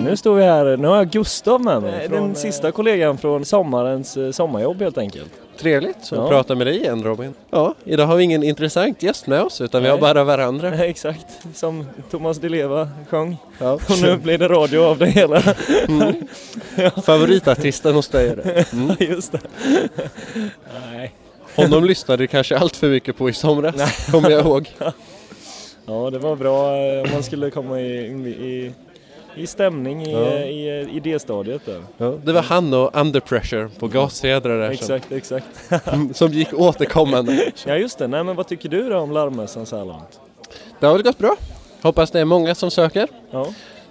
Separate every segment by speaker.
Speaker 1: Nu står vi här, nu har jag Gustav med mig.
Speaker 2: Eh,
Speaker 1: Den
Speaker 2: från, eh,
Speaker 1: sista kollegan från sommarens eh, sommarjobb helt enkelt.
Speaker 2: Trevligt att
Speaker 1: Ja.
Speaker 2: prata med dig igen Robin. Ja, idag har vi ingen intressant gäst med oss utan vi har
Speaker 1: Nej.
Speaker 2: bara varandra.
Speaker 1: Exakt, som Thomas Di Leva sjöng.
Speaker 2: Ja.
Speaker 1: Och nu blir det radio av det hela.
Speaker 2: Favoritartisten hos dig är det.
Speaker 1: Just det. Mm. Nej.
Speaker 2: Honom lyssnade du kanske allt för mycket på i somras, kommer jag ihåg.
Speaker 1: Ja, det var bra eh, om man skulle komma i, i, i stämning i, eh,
Speaker 2: Ja.
Speaker 1: i, i idéstadiet där.
Speaker 2: Ja. Det var han och Under Pressure på Gasfjädrar där som,
Speaker 1: Exakt, exakt.
Speaker 2: som gick återkommande.
Speaker 1: Ja, just det. Nej, men vad tycker du då om larmmässan så här långt?
Speaker 2: Det har väl gått bra. Hoppas det är många som söker.
Speaker 1: Ja.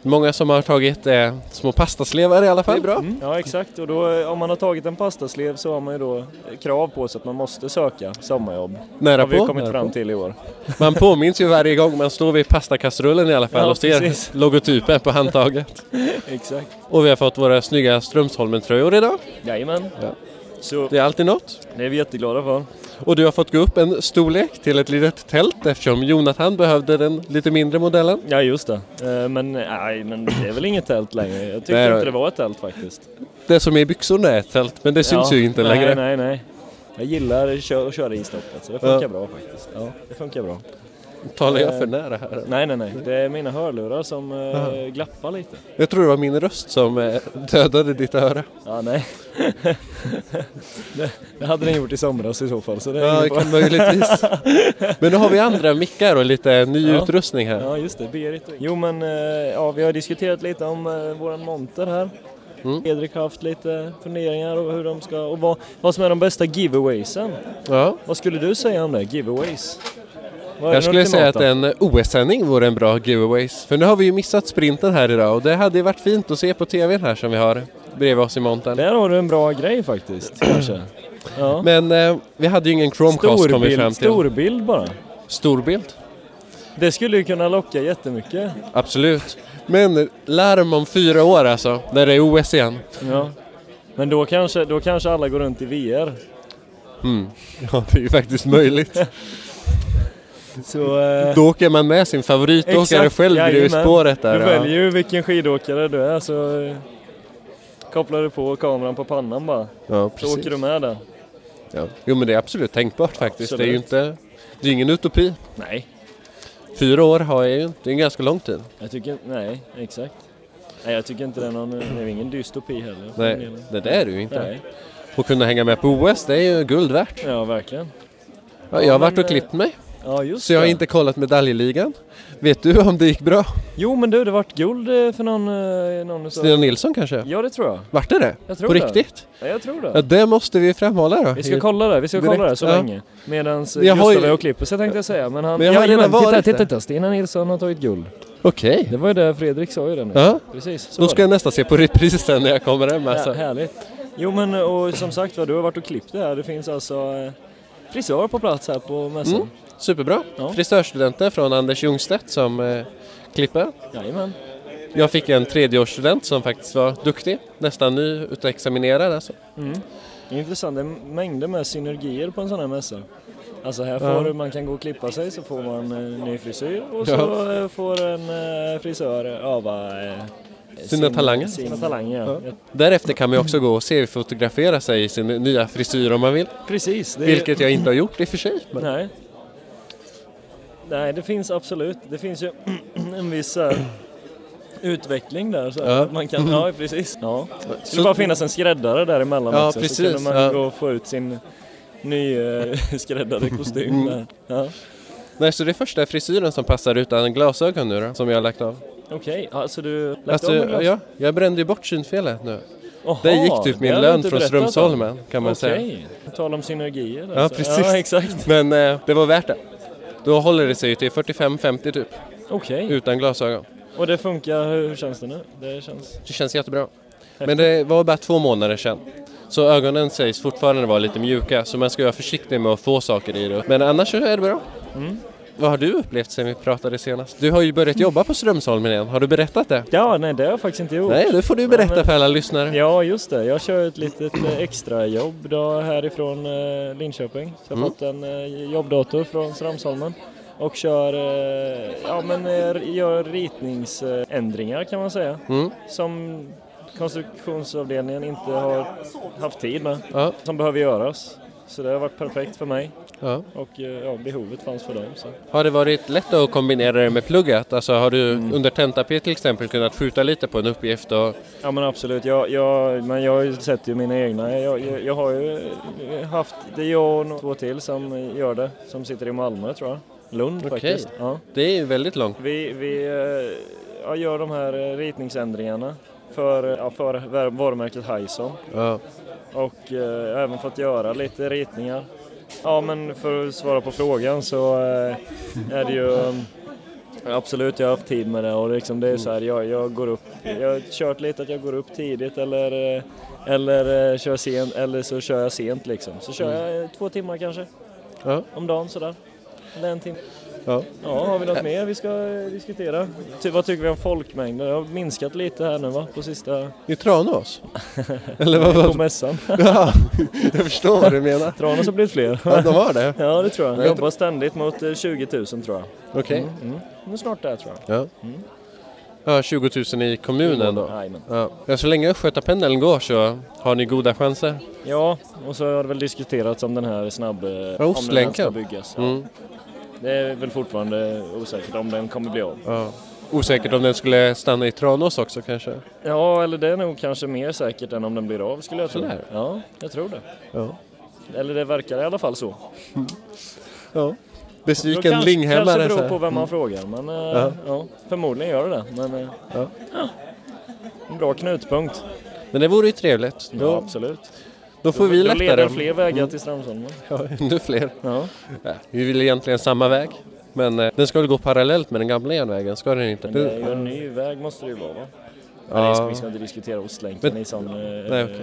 Speaker 2: Många som har tagit eh, små pastaslevar i alla fall. Mm.
Speaker 1: Ja exakt och då eh, om man har tagit en pastaslev så har man ju då eh, krav på sig att man måste söka sommarjobb.
Speaker 2: Nära
Speaker 1: Mm. har vi
Speaker 2: på.
Speaker 1: ju kommit
Speaker 2: nära
Speaker 1: fram
Speaker 2: på.
Speaker 1: till i år.
Speaker 2: Man påminns ju varje gång man står vid pastakastrullen i alla fall
Speaker 1: Ja,
Speaker 2: och ser
Speaker 1: precis.
Speaker 2: logotypen på handtaget.
Speaker 1: Exakt.
Speaker 2: Och vi har fått våra snygga Strömsholmen-tröjor idag.
Speaker 1: Jajamän.
Speaker 2: Ja.
Speaker 1: Så
Speaker 2: Det är alltid något.
Speaker 1: det är vi jätteglada för.
Speaker 2: Och du har fått gå upp en storlek till ett litet tält eftersom Jonathan behövde den lite mindre modellen.
Speaker 1: Ja just det. Eh, Men nej men det är väl inget tält längre. Jag tyckte
Speaker 2: Nej, då.
Speaker 1: inte det var ett tält faktiskt.
Speaker 2: Det som är i byxorna är ett tält men det syns
Speaker 1: Ja,
Speaker 2: ju inte
Speaker 1: nej,
Speaker 2: längre.
Speaker 1: Nej nej. Jag gillar att köra, att köra i stoppet så det funkar bra faktiskt. Ja, det funkar bra.
Speaker 2: Talar jag
Speaker 1: Eh.
Speaker 2: för nära här?
Speaker 1: Nej nej nej, det är mina hörlurar som eh, glappar lite.
Speaker 2: Jag tror det var min röst som eh, dödade ditt öra.
Speaker 1: Ja nej. det, det hade den gjort i somras i så fall så det är
Speaker 2: Ja,
Speaker 1: ingen
Speaker 2: det
Speaker 1: fara.
Speaker 2: kan möjligtvis. Men nu har vi andra mickar och lite ny
Speaker 1: Ja.
Speaker 2: utrustning här.
Speaker 1: Ja just det, Berit och Jo men eh, ja, vi har diskuterat lite om eh, våran monter här.
Speaker 2: Mm.
Speaker 1: Fredrik har haft lite funderingar och hur de ska och vad, vad som är de bästa giveawaysen.
Speaker 2: Ja.
Speaker 1: Vad skulle du säga om det? Giveaways? Vad är
Speaker 2: Jag skulle
Speaker 1: den
Speaker 2: säga att
Speaker 1: ultimata?
Speaker 2: en OS-sändning vore en bra giveaways. För nu har vi ju missat sprinten här idag och det hade ju varit fint att se på TVn här som vi har bredvid oss i montern.
Speaker 1: Där har du en bra grej faktiskt kanske. Ja.
Speaker 2: Men eh, vi hade ju ingen Chromecast kom vi fram
Speaker 1: Storbild,
Speaker 2: till.
Speaker 1: storbild bara.
Speaker 2: Storbild.
Speaker 1: Det skulle ju kunna locka jättemycket.
Speaker 2: Absolut. Men larm om fyra år alltså, när det är OS igen.
Speaker 1: Ja. Men då kanske, då kanske alla går runt i VR.
Speaker 2: Mm. Ja, det är ju faktiskt möjligt.
Speaker 1: Så, eh,
Speaker 2: Då åker man med sin favoritåkare
Speaker 1: Exakt,
Speaker 2: själv bredvid
Speaker 1: jajamän.
Speaker 2: spåret där.
Speaker 1: Du
Speaker 2: ja.
Speaker 1: väljer ju vilken skidåkare du är så eh, kopplar du på kameran på pannan bara. Så
Speaker 2: Ja, precis.
Speaker 1: åker du med där.
Speaker 2: Ja. Jo men det är absolut tänkbart faktiskt. Det är ju
Speaker 1: Absolut.
Speaker 2: inte, det är ingen utopi.
Speaker 1: Nej,
Speaker 2: Fyra år har jag ju inte, det är en ganska lång tid.
Speaker 1: jag tycker nej, exakt. Nej, jag tycker inte det är någon, eh, det är ingen dystopi heller. för
Speaker 2: Nej,
Speaker 1: min del.
Speaker 2: det där är det ju inte.
Speaker 1: Nej,
Speaker 2: Och kunna hänga med på OS, det är ju guld värt.
Speaker 1: ja verkligen.
Speaker 2: Ja, jag har varit
Speaker 1: men, eh,
Speaker 2: och klippt mig,
Speaker 1: Ja just
Speaker 2: så jag har
Speaker 1: det.
Speaker 2: inte kollat medaljligan. Vet du om det gick bra?
Speaker 1: Jo men du, det vart guld eh, för någon... eh, någon utav-
Speaker 2: Stina Nilsson kanske?
Speaker 1: Ja det tror jag.
Speaker 2: Vart är det?
Speaker 1: Jag tror
Speaker 2: på
Speaker 1: det.
Speaker 2: riktigt?
Speaker 1: Ja, jag tror det.
Speaker 2: Ja, det måste vi framhålla då.
Speaker 1: Vi ska kolla det, vi ska kolla
Speaker 2: Direkt,
Speaker 1: det så
Speaker 2: ja.
Speaker 1: länge. Medan Gustav
Speaker 2: Jag har ju-
Speaker 1: är och klipper sig tänkte jag säga. Men han...
Speaker 2: Men jag har
Speaker 1: Jajamän,
Speaker 2: redan
Speaker 1: titta,
Speaker 2: varit
Speaker 1: titta,
Speaker 2: där.
Speaker 1: titta, Stina Nilsson har tagit guld.
Speaker 2: Okej.
Speaker 1: Det var ju det Fredrik sa ju det nu.
Speaker 2: Ja,
Speaker 1: Precis, så
Speaker 2: då
Speaker 1: var
Speaker 2: ska
Speaker 1: det.
Speaker 2: jag nästan se på reprisen när jag kommer hem. Alltså.
Speaker 1: Ja, härligt. Jo men och som sagt var, du har varit och klippt det här. Det finns alltså eh, frisör på plats här på mässan.
Speaker 2: Mm. Superbra.
Speaker 1: Ja.
Speaker 2: Frisörstudenten från Anders Ljungstedt som eh, klipper.
Speaker 1: Jajamän.
Speaker 2: Jag fick en tredjeårsstudent som faktiskt var duktig, nästan nyutexaminerad alltså.
Speaker 1: Mm. Det är intressant, det är mängder med synergier på en sån här mässa. Alltså här får
Speaker 2: Ja.
Speaker 1: du- man kan gå och klippa sig så får man eh, ny frisyr och så
Speaker 2: Ja.
Speaker 1: eh, får en eh, frisör öva eh,
Speaker 2: Sina talanger.
Speaker 1: Sina talanger ja.
Speaker 2: Ja. Därefter kan man ju också gå och CV-fotografera sig i sin nya frisyr om man vill.
Speaker 1: Precis. det är-
Speaker 2: Vilket jag inte har gjort i och för sig. Men...
Speaker 1: Nej. Nej, det finns absolut. Det finns ju en viss eh, utveckling där. Så
Speaker 2: Ja. Mm.
Speaker 1: att man kan, ja, precis. Ja. Det skulle
Speaker 2: Så-
Speaker 1: bara finnas en skräddare däremellan
Speaker 2: Ja,
Speaker 1: också. Så
Speaker 2: precis,
Speaker 1: kunde man
Speaker 2: ja.
Speaker 1: gå och få ut sin
Speaker 2: Mm.
Speaker 1: nyskräddade kostym där. Ja.
Speaker 2: Nej, så det är första frisyren som passar utan glasögon nu då, som jag har lagt av.
Speaker 1: Okej, alltså du lagt
Speaker 2: Alltså,
Speaker 1: av med glas-
Speaker 2: ja, jag brände ju bort synfelet nu.
Speaker 1: Jaha,
Speaker 2: Det gick typ min
Speaker 1: hade du
Speaker 2: lön
Speaker 1: inte
Speaker 2: från
Speaker 1: berättat om.
Speaker 2: Strömsholmen kan man säga.
Speaker 1: Okej, tal om synergier.
Speaker 2: Ja, precis.
Speaker 1: Ja, exakt.
Speaker 2: Men eh, det var värt det. Då håller det sig ju till 45-50 typ,
Speaker 1: Okej,
Speaker 2: utan glasögon.
Speaker 1: och det funkar. Hur känns det nu? Det känns...
Speaker 2: Det känns jättebra. Men det var bara två månader sedan. Så ögonen sägs fortfarande vara lite mjuka, så man ska vara försiktig med att få saker i det. Men annars så är det bra.
Speaker 1: Mm.
Speaker 2: Vad har du upplevt sen vi pratade senast? Du har ju börjat jobba på Strömsholmen igen, har du berättat det?
Speaker 1: Ja, nej, det har jag faktiskt inte gjort.
Speaker 2: Nej, det får du
Speaker 1: Nej,
Speaker 2: berätta
Speaker 1: men-
Speaker 2: för alla lyssnare.
Speaker 1: Ja, just det. Jag kör ett litet eh, extrajobb då härifrån eh, Linköping. Så jag har
Speaker 2: Mm.
Speaker 1: fått en eh, jobbdator från Strömsholmen. och kör, eh, ja men eh, gör ritningsändringar kan man säga.
Speaker 2: Mm.
Speaker 1: Som konstruktionsavdelningen inte har haft tid med,
Speaker 2: Ja,
Speaker 1: som behöver göras. Så det har varit perfekt för mig
Speaker 2: ja.
Speaker 1: och eh, ja, behovet fanns för dem. Så.
Speaker 2: Har det varit lätt att kombinera det med plugget? Alltså har du
Speaker 1: Mm.
Speaker 2: under tentapel till exempel kunnat skjuta lite på en uppgift? Och...
Speaker 1: Ja men absolut, jag, jag, men jag sätter ju mina egna. Jag, jag, jag har ju haft, det är jag och några- två till som gör det, som sitter i Malmö tror jag. Lund
Speaker 2: Okej.
Speaker 1: faktiskt. Ja.
Speaker 2: Det är ju väldigt långt.
Speaker 1: Vi, vi eh, ja, gör de här eh, ritningsändringarna för, eh, ja, för vär- varumärket Hyson
Speaker 2: Ja.
Speaker 1: och eh, även fått göra lite ritningar. Ja men för att svara på frågan så eh, är det ju eh, Absolut, jag har haft tid med det och liksom det är så här, jag, jag går upp, jag har kört lite att jag går upp tidigt eller, eh, eller eh, kör sent, eller så kör jag sent liksom. Så kör jag eh, två timmar kanske
Speaker 2: Ja.
Speaker 1: om dagen sådär. Eller en timme.
Speaker 2: Ja.
Speaker 1: Ja, har vi något mer vi ska eh, diskutera? Ty, vad tycker vi om folkmängden? Det har minskat lite här nu va, på sista
Speaker 2: I Tranås? Eller vad?
Speaker 1: på
Speaker 2: vad?
Speaker 1: mässan.
Speaker 2: Ja, jag förstår vad du menar.
Speaker 1: Tranås har blivit fler.
Speaker 2: Ja, de har det?
Speaker 1: Ja, det tror jag.
Speaker 2: Jag
Speaker 1: Jag jobbar ständigt mot eh, 20 000 tror jag.
Speaker 2: Okej.
Speaker 1: Mm. Nu snart där tror jag.
Speaker 2: Ja. ja, 20 000 i kommunen då?
Speaker 1: Jajamän.
Speaker 2: Ja. ja, så länge Östgötapendeln går så har ni goda chanser.
Speaker 1: Ja, och så har det väl diskuterats om den här snabb... eh, om den här
Speaker 2: Ostlänken.
Speaker 1: ska byggas. Ja.
Speaker 2: Mm.
Speaker 1: Det är väl fortfarande osäkert om den kommer bli av.
Speaker 2: Ja. Osäkert om den skulle stanna i Tranås också kanske?
Speaker 1: Ja, eller det är nog kanske mer säkert än om den blir av skulle jag tro.
Speaker 2: Sådär.
Speaker 1: Ja, jag tror det.
Speaker 2: Ja.
Speaker 1: Eller det verkar i alla fall så.
Speaker 2: ja.
Speaker 1: Det
Speaker 2: Besviken
Speaker 1: kanske-
Speaker 2: Linghammare.
Speaker 1: Kanske beror
Speaker 2: så här. Mm.
Speaker 1: på vem man frågar, men eh,
Speaker 2: Ja.
Speaker 1: ja, förmodligen gör det det. Men, eh,
Speaker 2: Ja.
Speaker 1: ja. En bra knutpunkt.
Speaker 2: Men det vore ju trevligt. Då,
Speaker 1: Ja, absolut.
Speaker 2: då får vi
Speaker 1: Då
Speaker 2: lätta
Speaker 1: leder
Speaker 2: den.
Speaker 1: fler vägar till Strömsholmen.
Speaker 2: Ja, ännu fler.
Speaker 1: Ja.
Speaker 2: Ja, vi vill egentligen samma väg. Men eh, den ska väl gå parallellt med den gamla järnvägen, ska den inte?
Speaker 1: Men det är ju en ny väg måste det ju vara va?
Speaker 2: Ja.
Speaker 1: Nej, det ska, vi ska inte diskutera Ostlänken
Speaker 2: Men-
Speaker 1: i sån eh,
Speaker 2: Nej, okej.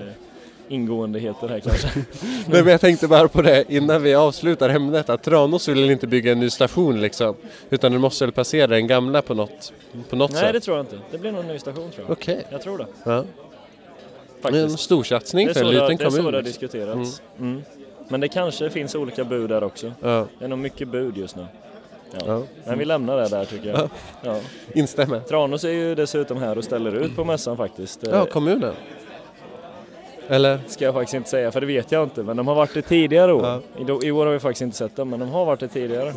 Speaker 1: ingåendeheter här kanske.
Speaker 2: Nej, men jag tänkte bara på det innan vi avslutar ämnet att Tranås vill inte bygga en ny station liksom. Utan den måste väl passera den gamla på något, på något
Speaker 1: Nej
Speaker 2: sätt.
Speaker 1: det tror jag inte. Det blir någon ny station tror jag.
Speaker 2: Okej.
Speaker 1: Jag tror det.
Speaker 2: Ja. En
Speaker 1: Faktiskt.
Speaker 2: storsatsning
Speaker 1: Det är
Speaker 2: för en
Speaker 1: så det,
Speaker 2: liten
Speaker 1: det, är så det har
Speaker 2: kommun. liksom.
Speaker 1: diskuterats. Mm. Men det kanske finns olika bud där också.
Speaker 2: Ja,
Speaker 1: Det är nog mycket bud just nu. Ja.
Speaker 2: Ja.
Speaker 1: Men vi lämnar det där tycker jag. Ja.
Speaker 2: instämmer.
Speaker 1: Tranås är ju dessutom här och ställer ut på mässan faktiskt. Eh,
Speaker 2: Ja, kommunen. Eller?
Speaker 1: ska jag faktiskt inte säga för det vet jag inte men de har varit det tidigare år.
Speaker 2: Ja.
Speaker 1: I, do- I år har vi faktiskt inte sett dem men de har varit det tidigare.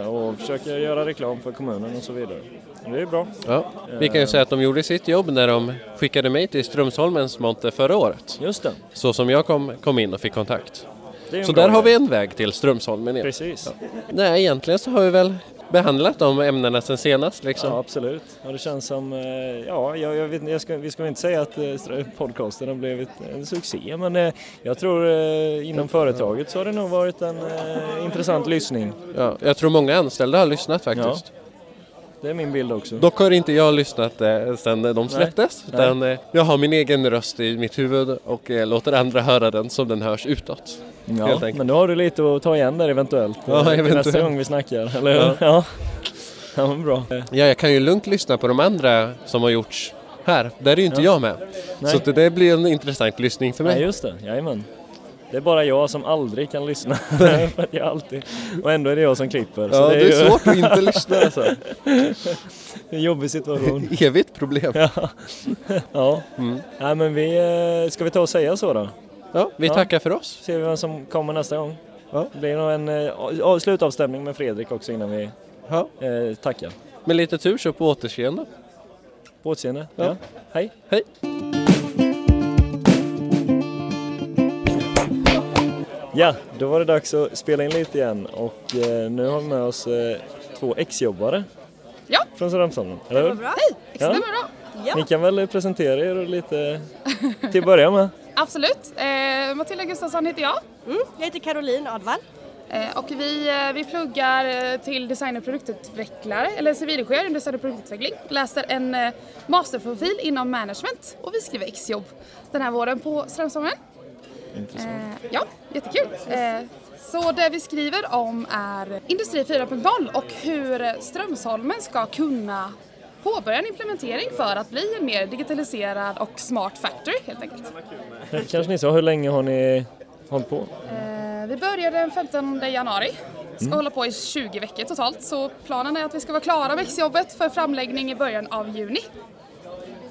Speaker 1: Eh, och försöker göra reklam för kommunen och så vidare. Det är bra.
Speaker 2: Ja. Vi
Speaker 1: Eh.
Speaker 2: kan ju säga att de gjorde sitt jobb när de skickade mig till Strömsholmens monter förra året.
Speaker 1: Just det.
Speaker 2: Så som jag kom, kom in och fick kontakt.
Speaker 1: det är en
Speaker 2: Så
Speaker 1: bra
Speaker 2: där har
Speaker 1: idé.
Speaker 2: vi en väg till Strömsholmen igen.
Speaker 1: Precis. Ja.
Speaker 2: Nej, egentligen så har vi väl behandlat de ämnena sen senast liksom.
Speaker 1: absolut. Och det känns som, eh, ja, jag, jag vet, jag ska, vi ska väl inte säga att eh, str- podcasten har blivit en succé, men eh, jag tror eh, inom företaget så har det nog varit en eh, intressant lyssning.
Speaker 2: Ja, jag tror många anställda har lyssnat faktiskt.
Speaker 1: Det är min bild också.
Speaker 2: Dock har inte jag lyssnat eh, sen de släpptes. Utan, eh, jag har min egen röst i mitt huvud och eh, låter andra höra den som den hörs utåt.
Speaker 1: Ja,
Speaker 2: helt enkelt.
Speaker 1: men då har du lite att ta igen där eventuellt.
Speaker 2: Ja,
Speaker 1: eh, till Nästa
Speaker 2: eventuellt.
Speaker 1: gång vi snackar, eller hur? Ja. ja. men bra.
Speaker 2: Ja, jag kan ju lugnt lyssna på de andra som har gjorts här. Där är ju inte jag med.
Speaker 1: Nej.
Speaker 2: Så att det där blir en intressant lyssning för mig.
Speaker 1: Nej, just det. Jajamän. Det är bara jag som aldrig kan lyssna. För att jag alltid... Och ändå är det jag som klipper.
Speaker 2: ja, det är,
Speaker 1: ju
Speaker 2: svårt att inte lyssna alltså.
Speaker 1: en jobbig situation.
Speaker 2: Evigt problem. Ja,
Speaker 1: Ja.
Speaker 2: Mm.
Speaker 1: Nej, men vi... eh, Ska vi ta och säga så då?
Speaker 2: vi
Speaker 1: Ja.
Speaker 2: tackar för oss.
Speaker 1: Ser vi vem som kommer nästa gång.
Speaker 2: Ja.
Speaker 1: Det blir nog en eh, a- slutavstämning med Fredrik också innan vi
Speaker 2: Ja.
Speaker 1: eh, tackar.
Speaker 2: Med lite tur så på återseende.
Speaker 1: På återseende.
Speaker 2: Ja.
Speaker 1: Ja. Hej.
Speaker 2: Hej!
Speaker 1: Ja, då var det dags att spela in lite igen och eh, nu har vi med oss eh, två exjobbare
Speaker 3: Ja.
Speaker 1: från Söderhamnshallen, eller hur?
Speaker 3: bra. Hej, det
Speaker 1: Ja.
Speaker 3: stämmer bra.
Speaker 1: Ni
Speaker 3: Ja,
Speaker 1: kan väl eh, presentera er och lite till att börja med.
Speaker 3: absolut. Eh, Matilda Gustafsson heter jag
Speaker 4: Mm, jag heter Caroline Advall.
Speaker 3: eh, och vi, eh, vi pluggar eh, till design och produktutvecklare, eller civilingenjör inom design och produktutveckling. Läser en eh, masterprofil inom management och vi skriver exjobb den här våren på Strömsholmen.
Speaker 1: Intressant.
Speaker 3: Eh, ja, jättekul. Eh, så det vi skriver om är Industri 4.0 och hur Strömsholmen ska kunna påbörja en implementering för att bli en mer digitaliserad och smart factory helt enkelt.
Speaker 1: Kanske ni sa, hur länge har ni hållit på?
Speaker 3: Eh, vi började den 15 januari. Ska hålla på i 20 veckor totalt så planen är att vi ska vara klara med exjobbet för framläggning i början av juni.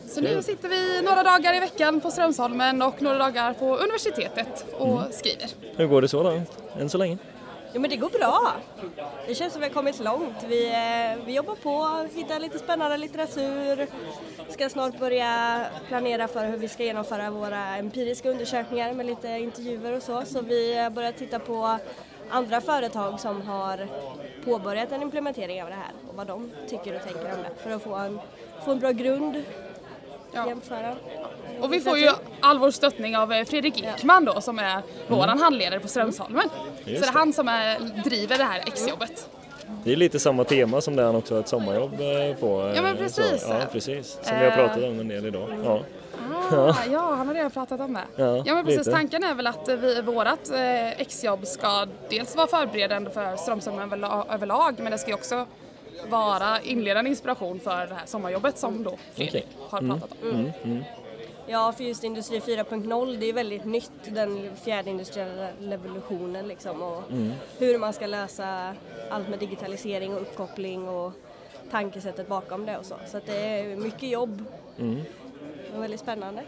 Speaker 3: Så nu sitter vi några dagar i veckan på Strömsholmen och några dagar på universitetet och skriver.
Speaker 1: Hur går det så långt? Än så länge?
Speaker 4: Jo men det går bra. Det känns som vi har kommit långt. Vi, eh, vi jobbar på, hittar lite spännande litteratur. Ska snart börja planera för hur vi ska genomföra våra empiriska undersökningar med lite intervjuer och så. Så vi eh, börjar titta på andra företag som har påbörjat en implementering av det här och vad de tycker och tänker om det för att få en, få en bra grund att
Speaker 3: Ja.
Speaker 4: jämföra.
Speaker 3: Och vi får ju all vår stöttning av eh, Fredrik Ekman då som är våran handledare på Strömsholmen. Så det är han som är, driver det här exjobbet.
Speaker 1: Det är lite samma tema som det han också har ett sommarjobb eh, på. eh,
Speaker 3: Ja, men
Speaker 1: så-
Speaker 3: precis.
Speaker 1: Ja, precis. Som vi har
Speaker 3: Eh.
Speaker 1: pratat om en del idag. Ja.
Speaker 3: Ah, ja, han har redan pratat om det.
Speaker 1: Ja,
Speaker 3: men precis.
Speaker 1: lite.
Speaker 3: Tanken är väl att eh, vi, vårat eh, exjobb ska dels vara förberedande för Strömsholmen överla- överlag men det ska ju också vara inledande inspiration för det här sommarjobbet som då Fredrik
Speaker 1: Okej.
Speaker 3: har pratat om.
Speaker 4: Ja, för just Industri 4.0, det är väldigt nytt, den fjärde industriella revolutionen liksom och hur man ska lösa allt med digitalisering och uppkoppling och tankesättet bakom det och så. Så att det är mycket jobb. Och väldigt spännande.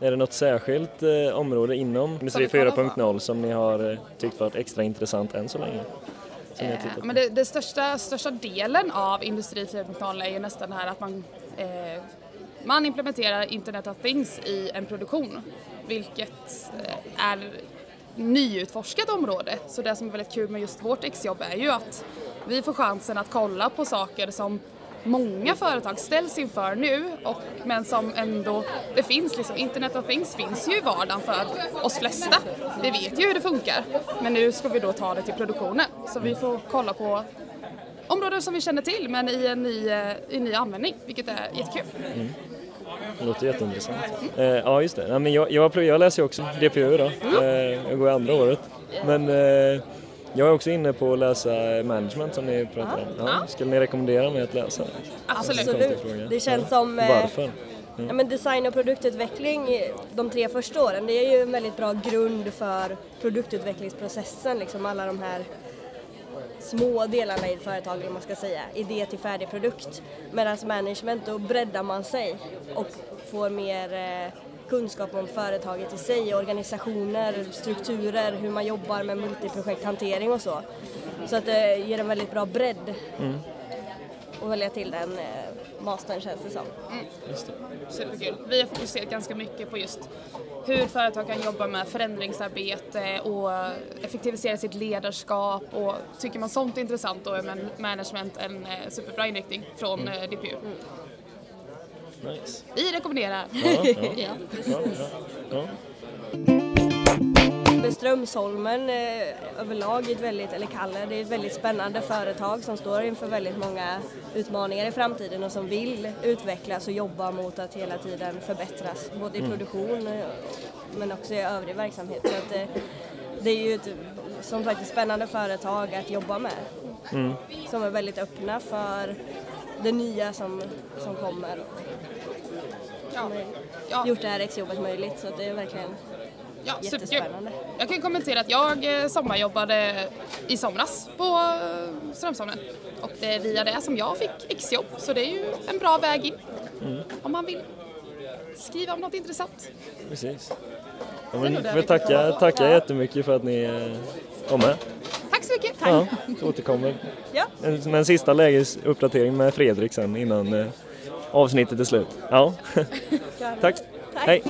Speaker 1: Är det något särskilt eh, område inom Industri
Speaker 3: vi kollar på?
Speaker 1: 4.0 som ni har eh, tyckt varit extra intressant än så länge? Som ni har tittat
Speaker 3: Ja,
Speaker 1: på?
Speaker 3: men det, det största, största delen av Industri 4.0 är ju nästan det här att man, eh, man implementerar Internet of Things i en produktion, vilket eh, är nyutforskat område. Så det som är väldigt kul med just vårt exjobb är ju att vi får chansen att kolla på saker som många företag ställs inför nu, och, men som ändå, det finns liksom, Internet of Things finns ju i vardagen för oss flesta. Vi vet ju hur det funkar, men nu ska vi då ta det till produktionen. Så vi får kolla på områden som vi känner till, men i en ny, eh, i en ny användning, vilket är jättekul.
Speaker 1: Det låter jätteintressant. Eh, ja, just det. Nej, men jag, jag, plugg- jag läser ju också DPU då. Eh, jag går i andra året. Men eh, jag är också inne på att läsa management som ni pratade om. Ja, skulle ni rekommendera mig att läsa det?
Speaker 3: Absolut.
Speaker 1: Konstig fråga.
Speaker 4: Det känns som... eh,
Speaker 1: Varför?
Speaker 4: Ja, men design och produktutveckling eh, de tre första åren, det är ju en väldigt bra grund för produktutvecklingsprocessen, liksom alla de här små delarna i ett företag, eller vad man ska säga, idé till färdig produkt. Medan management, då breddar man sig och får mer eh, kunskap om företaget i sig, organisationer, strukturer, hur man jobbar med multiprojekthantering och så. Så att det ger en väldigt bra bredd att välja till den eh, mastern känns det som.
Speaker 3: Superkul. Vi har fokuserat ganska mycket på just hur företag kan jobba med förändringsarbete och effektivisera sitt ledarskap och tycker man sånt är intressant då är man- management en eh, superbra inriktning från eh, DPU.
Speaker 1: Nice.
Speaker 3: Vi rekommenderar. Ja.
Speaker 1: Ja, ja, ja.
Speaker 4: Men Strömsholmen eh, överlag är ett väldigt, eller Kalle, det är ett väldigt spännande företag som står inför väldigt många utmaningar i framtiden och som vill utvecklas och jobba mot att hela tiden förbättras, både i produktion eh, men också i övrig verksamhet. Så att, eh, det är ju ett som sagt ett spännande företag att jobba med. Som är väldigt öppna för det nya som, som kommer
Speaker 3: Ja.
Speaker 4: och
Speaker 3: Ja.
Speaker 4: gjort det här exjobbet möjligt. Så att det är verkligen
Speaker 3: Ja, superkul.
Speaker 4: jättespännande.
Speaker 3: Jag kan ju kommentera att jag eh, sommarjobbade i somras på eh, Strömsholmen och det är via det som jag fick exjobb så det är ju en bra väg in om man vill skriva om något intressant.
Speaker 1: Precis. Ja,
Speaker 3: är
Speaker 1: men
Speaker 3: nog det
Speaker 1: får
Speaker 3: vi
Speaker 1: jag tacka,
Speaker 3: kan-
Speaker 1: tacka
Speaker 4: Ja.
Speaker 1: jättemycket för att ni eh, var med.
Speaker 3: Tack så mycket!
Speaker 1: Ja, återkommer.
Speaker 4: Ja.
Speaker 1: En, med en sista lägesuppdatering med Fredrik sen innan eh, avsnittet är slut. Ja. Tack. Hej.